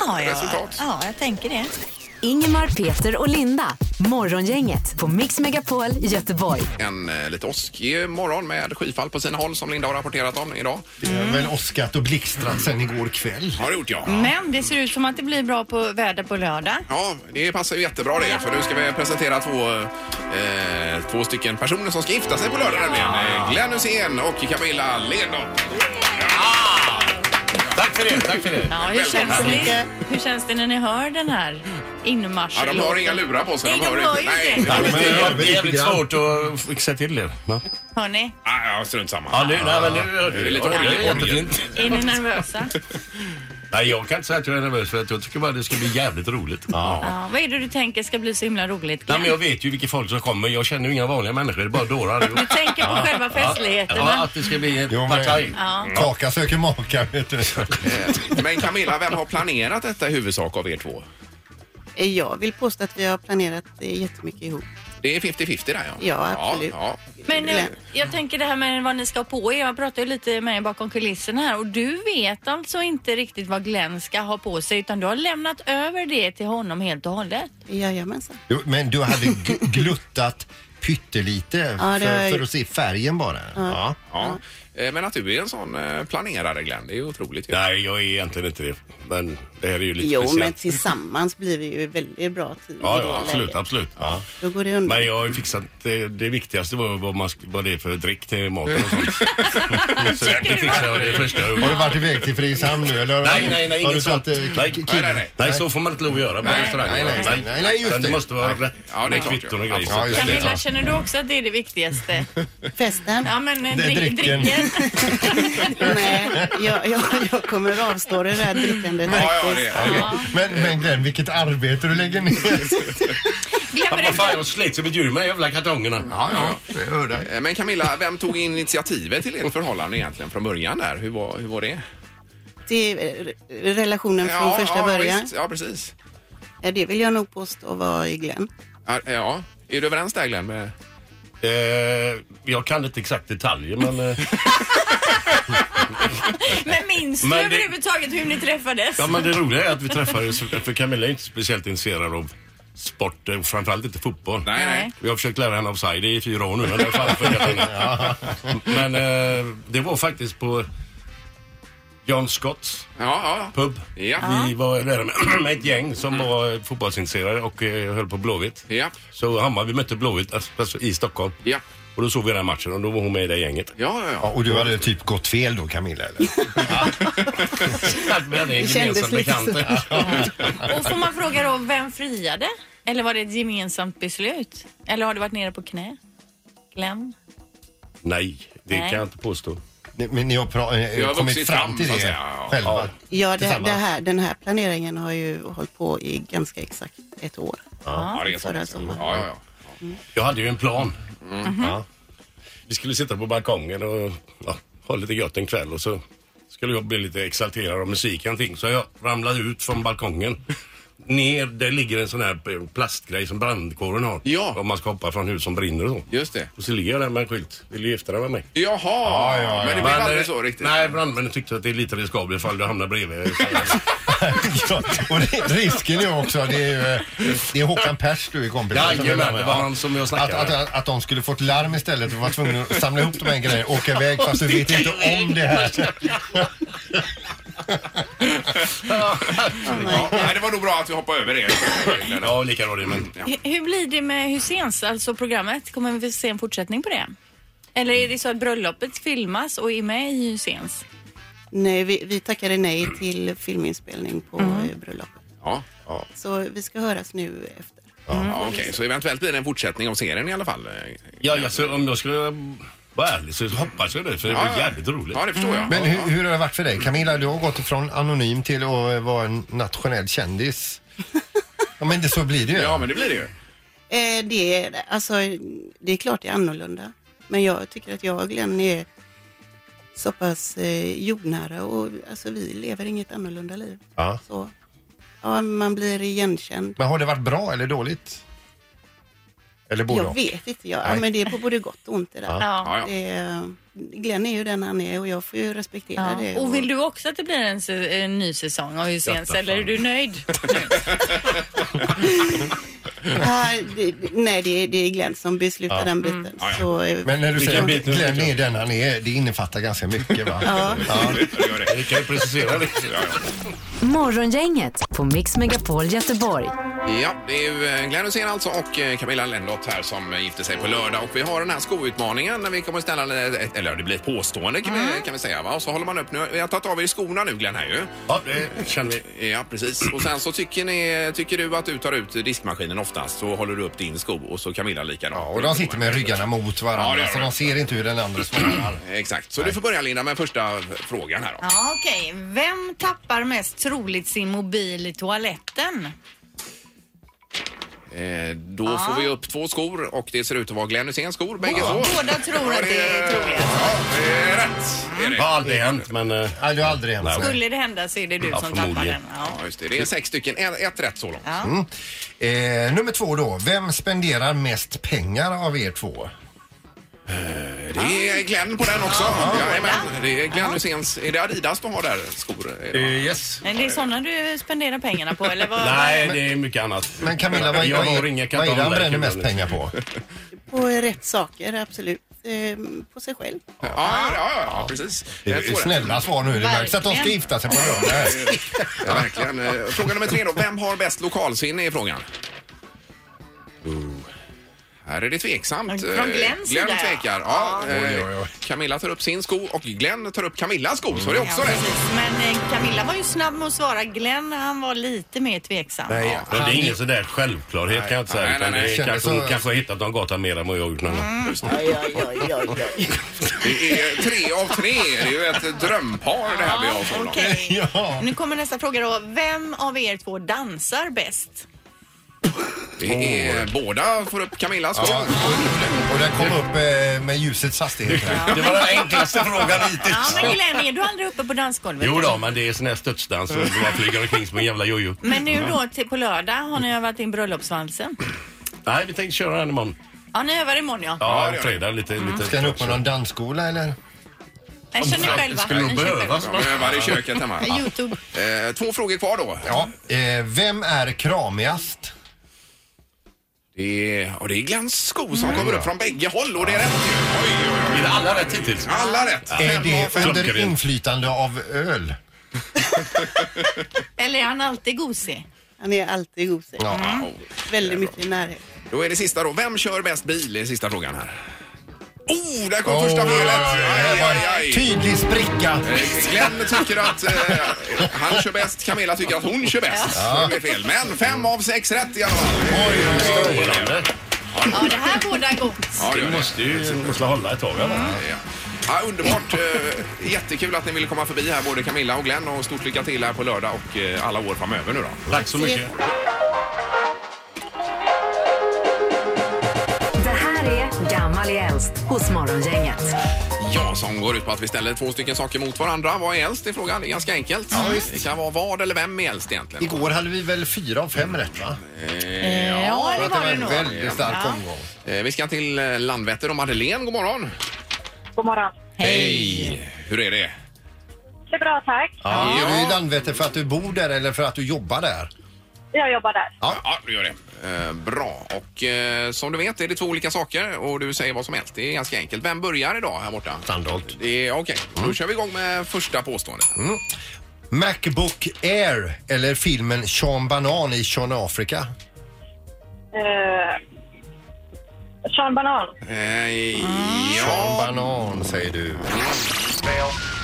[SPEAKER 3] Ja, jag,
[SPEAKER 1] Resultat.
[SPEAKER 3] ja, jag tänker det.
[SPEAKER 4] Ingemar, Peter och Linda. Morgongänget på Mix Megapol i Göteborg.
[SPEAKER 1] En eh, lite åskig morgon med skyfall på sina håll som Linda har rapporterat om idag.
[SPEAKER 2] Det har väl åskat och blixtrat sen igår kväll.
[SPEAKER 1] Har det gjort ja.
[SPEAKER 3] Men det ser ut som att det blir bra på väder på lördag.
[SPEAKER 1] Mm. Ja, det passar ju jättebra det för nu ska vi presentera två, eh, två stycken personer som ska gifta sig på lördag nämligen. Eh, Glenn Hysén och Camilla Lenop.
[SPEAKER 2] Tack för det, tack för det.
[SPEAKER 3] Ja, hur känns det, hur känns det när ni hör den här
[SPEAKER 1] Ja,
[SPEAKER 3] inmarschen?
[SPEAKER 1] de har inga lurar på sig.
[SPEAKER 3] Nej, de har ju
[SPEAKER 1] Nej,
[SPEAKER 3] inte.
[SPEAKER 1] nej,
[SPEAKER 2] men det är jävligt grann.
[SPEAKER 10] att fixa till det.
[SPEAKER 3] Hör ni?
[SPEAKER 1] nej, strunt samma.
[SPEAKER 10] Ja, nu, nej, men nu,
[SPEAKER 1] Det är lite olja- oljefint.
[SPEAKER 3] Är ni nervösa?
[SPEAKER 10] Nej, jag kan inte säga att jag är nervös för att jag tycker bara det ska bli jävligt roligt.
[SPEAKER 3] Ja, vad är det du tänker ska bli så himla roligt?
[SPEAKER 10] Nej,
[SPEAKER 3] Glenn?
[SPEAKER 10] men jag vet ju vilka folk som kommer. Jag känner ju inga vanliga människor. Det är bara dårar allihop.
[SPEAKER 3] Du tänker på själva festligheterna?
[SPEAKER 10] Ja, att det ska bli ett
[SPEAKER 2] Jo, men-
[SPEAKER 10] partaj.
[SPEAKER 2] Kaka söker maka, vet du.
[SPEAKER 1] Eh, Men Camilla, vem har planerat detta i huvudsak av er två?
[SPEAKER 11] Eh, Jag vill påstå att vi har planerat eh, jättemycket ihop.
[SPEAKER 1] Det är 50-50 där ja.
[SPEAKER 11] Ja, absolut.
[SPEAKER 1] Ja,
[SPEAKER 3] Men eh,
[SPEAKER 11] Glenn.
[SPEAKER 3] jag tänker det här med vad ni ska ha på er. Jag pratade ju lite med er bakom kulisserna här och du vet alltså inte riktigt vad Glenn ska ha på sig utan du har lämnat över det till honom helt och hållet.
[SPEAKER 11] Jajamensan.
[SPEAKER 2] Jo, Men du hade gl- gluttat pyttelite
[SPEAKER 11] Ja, det har
[SPEAKER 2] för,
[SPEAKER 11] jag
[SPEAKER 2] för
[SPEAKER 11] gjort.
[SPEAKER 2] att se färgen bara. Ja.
[SPEAKER 1] ja. Eh, Men att du är en sån eh, planerare Glenn, det är ju otroligt ju.
[SPEAKER 10] Nej, jag är egentligen inte det. Men det här är ju lite
[SPEAKER 11] Jo, men
[SPEAKER 10] speciellt.
[SPEAKER 11] tillsammans blir vi ju väldigt bra team.
[SPEAKER 10] Ja,
[SPEAKER 11] i det
[SPEAKER 10] ja, absolut,
[SPEAKER 11] läget.
[SPEAKER 10] absolut. Ja.
[SPEAKER 11] Då går det undan.
[SPEAKER 10] Men jag har ju fixat, det, det viktigaste var vad, man, sk- vad det är för dryck till maten och sånt. Så det fixar jag det första jag gjorde.
[SPEAKER 2] Har du varit iväg till Frieshamn nu eller?
[SPEAKER 10] Nej, nej, nej,
[SPEAKER 2] Har du
[SPEAKER 10] inget
[SPEAKER 2] satt,
[SPEAKER 10] sånt.
[SPEAKER 2] eh,
[SPEAKER 10] Nej,
[SPEAKER 2] k-
[SPEAKER 1] nej, nej.
[SPEAKER 10] Nej, så får man inte lov att göra på
[SPEAKER 1] Nej,
[SPEAKER 10] restaurang.
[SPEAKER 2] nej, nej, nej, nej, nej, just
[SPEAKER 10] Utan det.
[SPEAKER 2] det.
[SPEAKER 10] måste vara
[SPEAKER 2] Nej.
[SPEAKER 10] rätt.
[SPEAKER 1] Ja, det är
[SPEAKER 10] med
[SPEAKER 1] klart ju.
[SPEAKER 10] kvitton och grejer.
[SPEAKER 2] Ja, just det.
[SPEAKER 3] Camilla, känner du också att det är det viktigaste?
[SPEAKER 11] Festen.
[SPEAKER 3] Ja, men eh,
[SPEAKER 2] Det är
[SPEAKER 3] dri-
[SPEAKER 2] drycken.
[SPEAKER 3] dricken.
[SPEAKER 11] Nej, jag, jag, jag kommer avstå det där drickandet
[SPEAKER 2] Ja, ja,
[SPEAKER 11] faktiskt.
[SPEAKER 2] det är- Men, men Glenn, vilket arbete du lägger ner.
[SPEAKER 10] Ja, Vad fan, jag slet som ett djur med de jävla kartongerna.
[SPEAKER 5] Mm.
[SPEAKER 1] Ja, ja, det hörde jag. Men Camilla, vem tog initiativet till ert förhållande egentligen från början där? Hur var, hur var det?
[SPEAKER 11] Det är eh, relationen från
[SPEAKER 1] Ja,
[SPEAKER 11] första
[SPEAKER 1] ja,
[SPEAKER 11] början.
[SPEAKER 1] visst. Ja, precis.
[SPEAKER 11] Ja, det vill jag nog påstå var i Glenn.
[SPEAKER 1] Ja, Ja, är du överens där Glenn? med-
[SPEAKER 10] Eh, jag kan inte exakt detaljer men... Eh,
[SPEAKER 8] Men minns
[SPEAKER 10] Men
[SPEAKER 8] du
[SPEAKER 10] det-
[SPEAKER 8] överhuvudtaget hur ni träffades?
[SPEAKER 10] ja men det roliga är att vi träffades, för Camilla är inte speciellt intresserad av sport, eh, framförallt inte fotboll.
[SPEAKER 1] Nej, nej.
[SPEAKER 10] Vi har försökt lära henne offside i fyra år nu men det har fan funkat henne. Men eh, det var faktiskt på John Scotts pub. Vi var där med, med ett gäng som var fotbollsintresserade och eh, höll på Blåvitt. Så Hammarby mötte Blåvitt alltså, alltså, i Stockholm. Och då såg vi den här matchen och då var hon med i det gänget.
[SPEAKER 1] Ja, ja,
[SPEAKER 2] Ja, och du hade typ gått fel då Camilla eller?
[SPEAKER 10] Vi hade en
[SPEAKER 8] Det
[SPEAKER 10] gemensam
[SPEAKER 8] kändes lite
[SPEAKER 10] bekant.
[SPEAKER 8] Och får man fråga då, vem friade? Eller var det ett gemensamt beslut? Eller har du varit nere på knä? Glenn?
[SPEAKER 10] Nej,
[SPEAKER 8] det Nej. kan jag
[SPEAKER 10] inte påstå.
[SPEAKER 2] Men ni har pra-
[SPEAKER 10] Vi har
[SPEAKER 2] eh, kommit
[SPEAKER 10] vuxit
[SPEAKER 2] fram
[SPEAKER 10] fram,
[SPEAKER 2] till
[SPEAKER 10] så att
[SPEAKER 2] det
[SPEAKER 10] säga, ja.
[SPEAKER 2] själva?
[SPEAKER 11] Ja, det,
[SPEAKER 2] Tillsammans.
[SPEAKER 11] det här, den här planeringen har ju hållit på i ganska exakt ett år.
[SPEAKER 10] Ja, det är så.
[SPEAKER 11] Förra
[SPEAKER 10] Ja,
[SPEAKER 11] sommaren.
[SPEAKER 10] ja, ja. Jag hade ju en plan.
[SPEAKER 11] Mhm.
[SPEAKER 10] Ja. Vi skulle sitta på balkongen och ja, ha lite gött en kväll och så skulle jag bli lite exalterad av musik och allting. Så jag ramlade ut från balkongen. Ner, där ligger en sån här eh, plastgrej som brandkåren har. Ja. Om man ska hoppa från hus som brinner och så.
[SPEAKER 1] Just det.
[SPEAKER 10] Och så ligger jag där med en skylt. Vill du gifta dig med mig?
[SPEAKER 1] Jaha, men det blev aldrig
[SPEAKER 10] eh,
[SPEAKER 1] så riktigt.
[SPEAKER 10] Nej, brandmännen tyckte att det är lite riskabelt ifall du hamnar bredvid.
[SPEAKER 2] Ja, och det, risken är ju också, det är, ju, eh, det är Håkan Pers du är kompis med.
[SPEAKER 10] Jajamän, det var han som jag
[SPEAKER 2] att,
[SPEAKER 10] snackade
[SPEAKER 2] att,
[SPEAKER 10] med.
[SPEAKER 2] att, att de skulle fått larm istället och var tvungna att samla ihop de här grejerna och åka iväg fast du vet inte om det här.
[SPEAKER 1] Ja, nej, det var nog bra att vi hoppade över det.
[SPEAKER 10] ja, lika bra det. Men...
[SPEAKER 8] Hu- Hur blir det med Husseins, alltså programmet? Kommer vi se en fortsättning på det? Eller är det så att bröllopet filmas och är med i Husseins?
[SPEAKER 11] Nej, vi, vi tackade nej till filminspelning på eh,
[SPEAKER 8] Mm.
[SPEAKER 11] bröllopet.
[SPEAKER 1] Ja.
[SPEAKER 11] Så vi ska höras nu efter.
[SPEAKER 1] Ja, Okej, så eventuellt blir det en fortsättning av serien i alla fall.
[SPEAKER 10] Ja, alltså, om jag skulle vara ärlig så hoppas jag det för det var jävligt roligt.
[SPEAKER 1] Ja, det förstår jag.
[SPEAKER 2] Men hur, hur har det varit för dig? Camilla, du har gått från anonym till att eh, vara en nationell kändis. Ja, men det, så blir det ju.
[SPEAKER 1] Ja, men det blir det ju.
[SPEAKER 11] Eh, det, är, alltså, det är klart det är annorlunda. Men jag tycker att jag och Glenn är så pass eh, jordnära och alltså, vi lever inget annorlunda liv.
[SPEAKER 2] Ja.
[SPEAKER 11] Så, ja, man blir igenkänd.
[SPEAKER 2] Men har det varit bra eller dåligt? Eller både
[SPEAKER 11] Jag
[SPEAKER 2] och?
[SPEAKER 11] vet inte, jag, ja,
[SPEAKER 2] Oh, Nej.
[SPEAKER 11] men det är på både gott och ont det där.
[SPEAKER 2] Ja. Ja, ja.
[SPEAKER 11] Det, Glenn är ju den han är och jag får ju respektera
[SPEAKER 8] Ja.
[SPEAKER 11] det.
[SPEAKER 8] Och vill du också att det blir en, se- en ny säsong av Husseins
[SPEAKER 11] Detta
[SPEAKER 8] eller är
[SPEAKER 11] fan.
[SPEAKER 8] du nöjd?
[SPEAKER 11] Ah, det, nej, det, är- det är Glenn som beslutar
[SPEAKER 2] Ja.
[SPEAKER 11] den biten. Så, eh,
[SPEAKER 2] Men när du
[SPEAKER 11] Vilken
[SPEAKER 2] säger att
[SPEAKER 11] bit nu?
[SPEAKER 2] Glenn är den han är, det innefattar ganska mycket va?
[SPEAKER 11] Ja.
[SPEAKER 10] Vi kan ju precisera det.
[SPEAKER 4] Morgongänget på Mix Megapol Göteborg.
[SPEAKER 1] Ja, det är ju eh, Glenn Hysén alltså och eh, Camilla Lennart här som eh, gifte sig på lördag. Och vi har den här skoutmaningen när vi kommer ställa, eh, ett, eller det blir ett påstående kan, vi, kan vi säga va? Och så håller man upp nu. Vi har tagit av er skorna nu Glenn här ju.
[SPEAKER 10] Ja, det känner
[SPEAKER 1] vi. Ja, precis. Och sen så tycker, ni, tycker du att du tar ut diskmaskinen oftast så håller du upp din sko och så Camilla likadant.
[SPEAKER 2] Och de sitter med ryggarna mot
[SPEAKER 1] Ja, det
[SPEAKER 2] varandra
[SPEAKER 1] gör
[SPEAKER 2] så de ser inte hur den andra svarar.
[SPEAKER 1] Exakt, så du får börja Linda med första frågan här då.
[SPEAKER 8] Ja, okej. Vem tappar mest troligt sin mobil i toaletten?
[SPEAKER 1] Eh, då
[SPEAKER 8] Ja.
[SPEAKER 1] får vi upp två skor och det ser ut att vara Glenn Hyséns skor bägge två.
[SPEAKER 8] Båda tror att det är troligt.
[SPEAKER 1] Det är rätt. Det är det.
[SPEAKER 10] Det har aldrig hänt men... eh,
[SPEAKER 2] Nej, det har aldrig hänt.
[SPEAKER 8] Skulle det hända så är det du som tappar den. Ja.
[SPEAKER 1] Ja, just det. Det är sex stycken. En- Ett rätt så långt.
[SPEAKER 2] Mm. Eh, nummer två då. Vem spenderar mest pengar av er två?
[SPEAKER 1] Det är Glenn på den också. Jajamän. Det är Glenn Hyséns. Är det Adidas du har där, skor?
[SPEAKER 10] yes.
[SPEAKER 8] Men det är sådana du spenderar pengarna på eller vad?
[SPEAKER 10] Nej, det är mycket annat.
[SPEAKER 2] Men Camilla, vad är-
[SPEAKER 10] Jag
[SPEAKER 2] vad är-
[SPEAKER 10] har inga
[SPEAKER 2] vad är det han
[SPEAKER 10] kartonger.
[SPEAKER 2] bränner mest pengar på?
[SPEAKER 11] På rätt saker, absolut. Eh, på sig själv.
[SPEAKER 1] Ja, ja, ja, ja precis.
[SPEAKER 2] Det är snälla svar nu. Det märks att de ska
[SPEAKER 11] Verkligen.
[SPEAKER 2] gifta sig på lördag.
[SPEAKER 1] Ja, verkligen. Eh, Fråga nummer tre då. Vem har bäst lokalsinne i frågan? Oh. Här är det tveksamt.
[SPEAKER 8] Från
[SPEAKER 1] Eh,
[SPEAKER 8] Glenns
[SPEAKER 1] Glenn
[SPEAKER 8] sida, ja.
[SPEAKER 1] tvekar. Ja.
[SPEAKER 8] Ja.
[SPEAKER 1] eh,
[SPEAKER 8] Oj,
[SPEAKER 1] Camilla tar upp sin sko och Glenn tar upp Camillas sko. Så det är också
[SPEAKER 3] Ja,
[SPEAKER 1] rätt.
[SPEAKER 3] precis. Men eh, Camilla var ju snabb med att svara. Glenn, han var lite mer tveksam.
[SPEAKER 10] Ja, men det är ingen sådär självklarhet kan jag inte säga.
[SPEAKER 1] Nej,
[SPEAKER 10] utan
[SPEAKER 1] nej, nej.
[SPEAKER 10] det är kanske,
[SPEAKER 1] Kändes
[SPEAKER 10] hon
[SPEAKER 1] så-
[SPEAKER 10] kanske har hittat någon gata mer än vad jag har gjort någon gång.
[SPEAKER 1] Det är tre av tre. Det är ju ett drömpar det här vi har för
[SPEAKER 3] okej.
[SPEAKER 2] Ja.
[SPEAKER 3] Nu kommer nästa fråga då. Vem av er två dansar bäst?
[SPEAKER 1] Det är båda får upp Camillas sko.
[SPEAKER 2] Ja. Och den kom upp eh, med ljusets hastighet.
[SPEAKER 10] Det var den enklaste frågan
[SPEAKER 3] Ja,
[SPEAKER 10] hittills.
[SPEAKER 3] men Glenn, är du aldrig uppe på dansgolvet?
[SPEAKER 10] Jo då, men det är sån här studsdans och man flyger omkring som en jävla jojo.
[SPEAKER 3] Men nu då till på lördag har ni övat in bröllopsvalsen.
[SPEAKER 10] Nej, vi tänkte köra den imorgon.
[SPEAKER 3] Ja, ni övar imorgon ja.
[SPEAKER 10] Ja, fredag lite. lite
[SPEAKER 2] Mm. Ska ni upp på någon dansskola eller?
[SPEAKER 3] Jag känner själva.
[SPEAKER 10] skulle nog
[SPEAKER 3] Ni kör
[SPEAKER 10] behövas.
[SPEAKER 3] själva.
[SPEAKER 1] De övar i köket hemma.
[SPEAKER 3] Ja. Youtube.
[SPEAKER 1] Eh, Två frågor kvar då.
[SPEAKER 2] Ja. Eh, vem är kramigast?
[SPEAKER 1] Det är, och det är Glenns sko som kommer upp från bägge håll och det är rätt ju. Oj, oj, oj.
[SPEAKER 10] Är det alla rätt hittills?
[SPEAKER 1] Alla rätt.
[SPEAKER 2] Är
[SPEAKER 1] Fem av
[SPEAKER 2] det
[SPEAKER 1] fem.
[SPEAKER 2] under inflytande av öl?
[SPEAKER 3] Eller är han alltid gosig?
[SPEAKER 11] Han är alltid gosig.
[SPEAKER 2] Ja.
[SPEAKER 11] Väldigt mycket i närhet.
[SPEAKER 1] Då är det sista då. Vem kör bäst bil? Det är sista frågan här. Oh, där kom
[SPEAKER 2] Oj,
[SPEAKER 1] första
[SPEAKER 2] oj,
[SPEAKER 1] felet!
[SPEAKER 2] oj, oj,
[SPEAKER 1] Aj,
[SPEAKER 2] det var
[SPEAKER 1] aj,
[SPEAKER 2] en
[SPEAKER 1] aj.
[SPEAKER 2] Tydlig spricka.
[SPEAKER 1] Eh, Glenn tycker att eh, han kör bäst, Camilla tycker att hon kör bäst. Det blev fel. Men fem av sex rätt i alla fall. Oj, oj, oj.
[SPEAKER 10] Strålande.
[SPEAKER 3] Ja, det här båda gott.
[SPEAKER 1] Ja, det
[SPEAKER 10] Vi
[SPEAKER 1] gör det.
[SPEAKER 10] måste ju måste hålla ett tag. va?
[SPEAKER 1] Ja. Ja, underbart! Eh, Jättekul att ni ville komma förbi här, både Camilla och Glenn. Och stort lycka till här på lördag och eh, alla år framöver nu då.
[SPEAKER 10] Tack så mycket.
[SPEAKER 4] Det här är Gammal i äldst hos Morgongänget.
[SPEAKER 1] Ja, som går ut på att vi ställer två stycken saker mot varandra. Vad är äldst i frågan? Det är ganska enkelt. Det kan vara vad eller vem är äldst egentligen.
[SPEAKER 2] Igår hade vi väl fyra av fem rätt va?
[SPEAKER 3] Ja,
[SPEAKER 2] Så
[SPEAKER 3] det
[SPEAKER 2] att det
[SPEAKER 3] var
[SPEAKER 2] var
[SPEAKER 3] det
[SPEAKER 2] en
[SPEAKER 3] nog.
[SPEAKER 2] väldigt stark omgång.
[SPEAKER 1] Eh, Vi ska till eh, Landvetter och Madeleine. God morgon!
[SPEAKER 5] God morgon.
[SPEAKER 1] Hej! Hur är det?
[SPEAKER 5] Det är bra, tack.
[SPEAKER 2] Ja. Är du i Landvetter för att du bor där eller för att du jobbar där?
[SPEAKER 5] Jag jobbar där.
[SPEAKER 1] Ja, du gör det. Eh, Bra. Och eh, som du vet är det två olika saker och du säger vad som helst. Det är ganska enkelt. Vem börjar idag här borta?
[SPEAKER 2] Sandholt.
[SPEAKER 1] Det är Okej,
[SPEAKER 2] Mm.
[SPEAKER 1] då kör vi igång med första påståendet.
[SPEAKER 2] Macbook Air eller filmen Sean Banan i Sean Afrika?
[SPEAKER 5] Eh, Sean Banan.
[SPEAKER 2] Mm.
[SPEAKER 1] Eh,
[SPEAKER 2] Sean
[SPEAKER 1] Ja,
[SPEAKER 2] Banan säger du.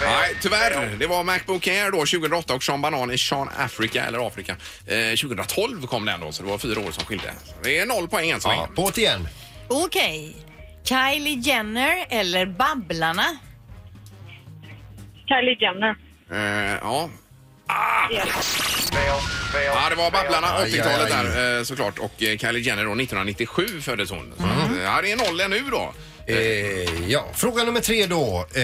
[SPEAKER 1] nej, tyvärr. Det var Macbook Air då 2008 och Sean Banan i Sean Africa eller Afrika. Eh, 2012 kom den då så det var fyra år som skilde. Det är noll poäng än så länge.
[SPEAKER 2] Ja, på det igen.
[SPEAKER 3] Okej. Kylie Jenner eller Babblarna?
[SPEAKER 5] Kylie Jenner.
[SPEAKER 1] Eh, Ja. Ah! Ja, det var Babblarna,
[SPEAKER 2] Aj,
[SPEAKER 1] 80-talet
[SPEAKER 2] aj, aj.
[SPEAKER 1] där eh, såklart. Och eh, Kylie Jenner då, 1997 föddes hon. Så
[SPEAKER 2] Mm.
[SPEAKER 1] att, eh, Ja, det är noll ännu då.
[SPEAKER 2] Eh, ja. Fråga nummer tre då. Eh,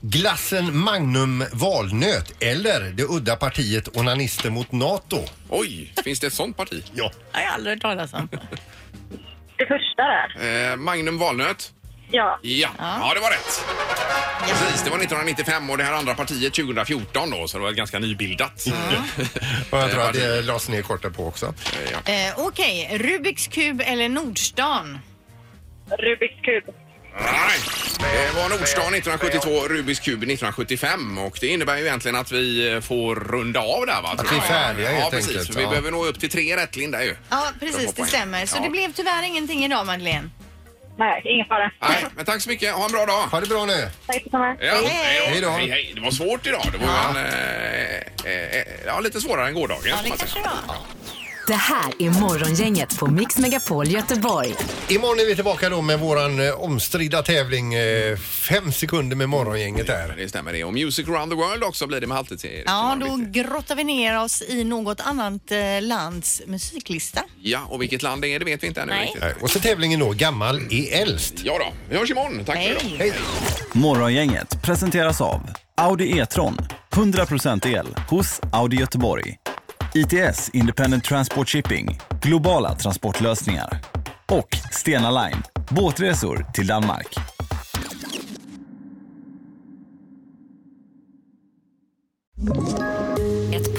[SPEAKER 2] glassen Magnum valnöt eller det udda partiet Onanister mot NATO?
[SPEAKER 1] Oj, finns det ett sånt parti?
[SPEAKER 2] Ja.
[SPEAKER 3] Jag har aldrig hört talas om.
[SPEAKER 5] Det första där.
[SPEAKER 1] Eh, Magnum Valnöt.
[SPEAKER 5] Ja.
[SPEAKER 1] Ja. ja, det var rätt. Precis, det var 1995 och det här andra partiet 2014 då, så det var ganska nybildat. Mm.
[SPEAKER 2] Och jag tror att det lades ner kort på också.
[SPEAKER 1] Eh, ja.
[SPEAKER 3] Eh, Okej, Rubiks kub eller Nordstan?
[SPEAKER 5] Rubiks kub.
[SPEAKER 1] Nej. Det var Nordstan 1972, Rubiks kub 1975 och det innebär ju egentligen att vi eh, får runda av där va? tror
[SPEAKER 2] vi är
[SPEAKER 1] jag.
[SPEAKER 2] färdiga,
[SPEAKER 1] Ja,
[SPEAKER 2] helt
[SPEAKER 1] precis.
[SPEAKER 2] enkelt.
[SPEAKER 1] Vi
[SPEAKER 2] Ja.
[SPEAKER 1] behöver nå upp till tre rätt, Linda ju.
[SPEAKER 3] Ja,
[SPEAKER 1] För att
[SPEAKER 3] precis,
[SPEAKER 1] få
[SPEAKER 3] det
[SPEAKER 1] poäng.
[SPEAKER 3] stämmer. Så
[SPEAKER 1] Ja.
[SPEAKER 3] det blev tyvärr ingenting idag, Madeleine.
[SPEAKER 5] Nej, ingen fara.
[SPEAKER 1] Nej, men tack så mycket. Ha en bra dag.
[SPEAKER 2] Ha det bra nu.
[SPEAKER 5] Tack så mycket.
[SPEAKER 1] Ja,
[SPEAKER 2] Hej då.
[SPEAKER 1] Hej, hej. Det var svårt idag. Det var ja. en, eh, eh, ja, lite svårare än gårdagen.
[SPEAKER 3] Ja,
[SPEAKER 1] får
[SPEAKER 3] det
[SPEAKER 1] man
[SPEAKER 3] kanske
[SPEAKER 1] säga.
[SPEAKER 3] det var.
[SPEAKER 4] Det här är Morgongänget på Mix Megapol Göteborg.
[SPEAKER 2] Imorgon är vi tillbaka då med våran eh, omstridda tävling eh, Fem sekunder med morgongänget där.
[SPEAKER 1] Det stämmer det. Och Music around the world också blir det med halvtids-Erik.
[SPEAKER 3] Ja, då grottar vi ner oss i något annat eh, lands musiklista.
[SPEAKER 1] Ja, och vilket land det är det vet vi inte ännu
[SPEAKER 3] Nej.
[SPEAKER 1] riktigt.
[SPEAKER 2] Nej, Eh, Och så tävlingen då, gammal E är äldst.
[SPEAKER 1] Ja då, vi hörs imorgon. Tack för idag.
[SPEAKER 3] Hej.
[SPEAKER 12] Morgongänget presenteras av Audi E-tron. 100% el hos Audi Göteborg. ITS Independent Transport Shipping. Globala transportlösningar. Och Stena Line. Båtresor till Danmark.
[SPEAKER 4] Ett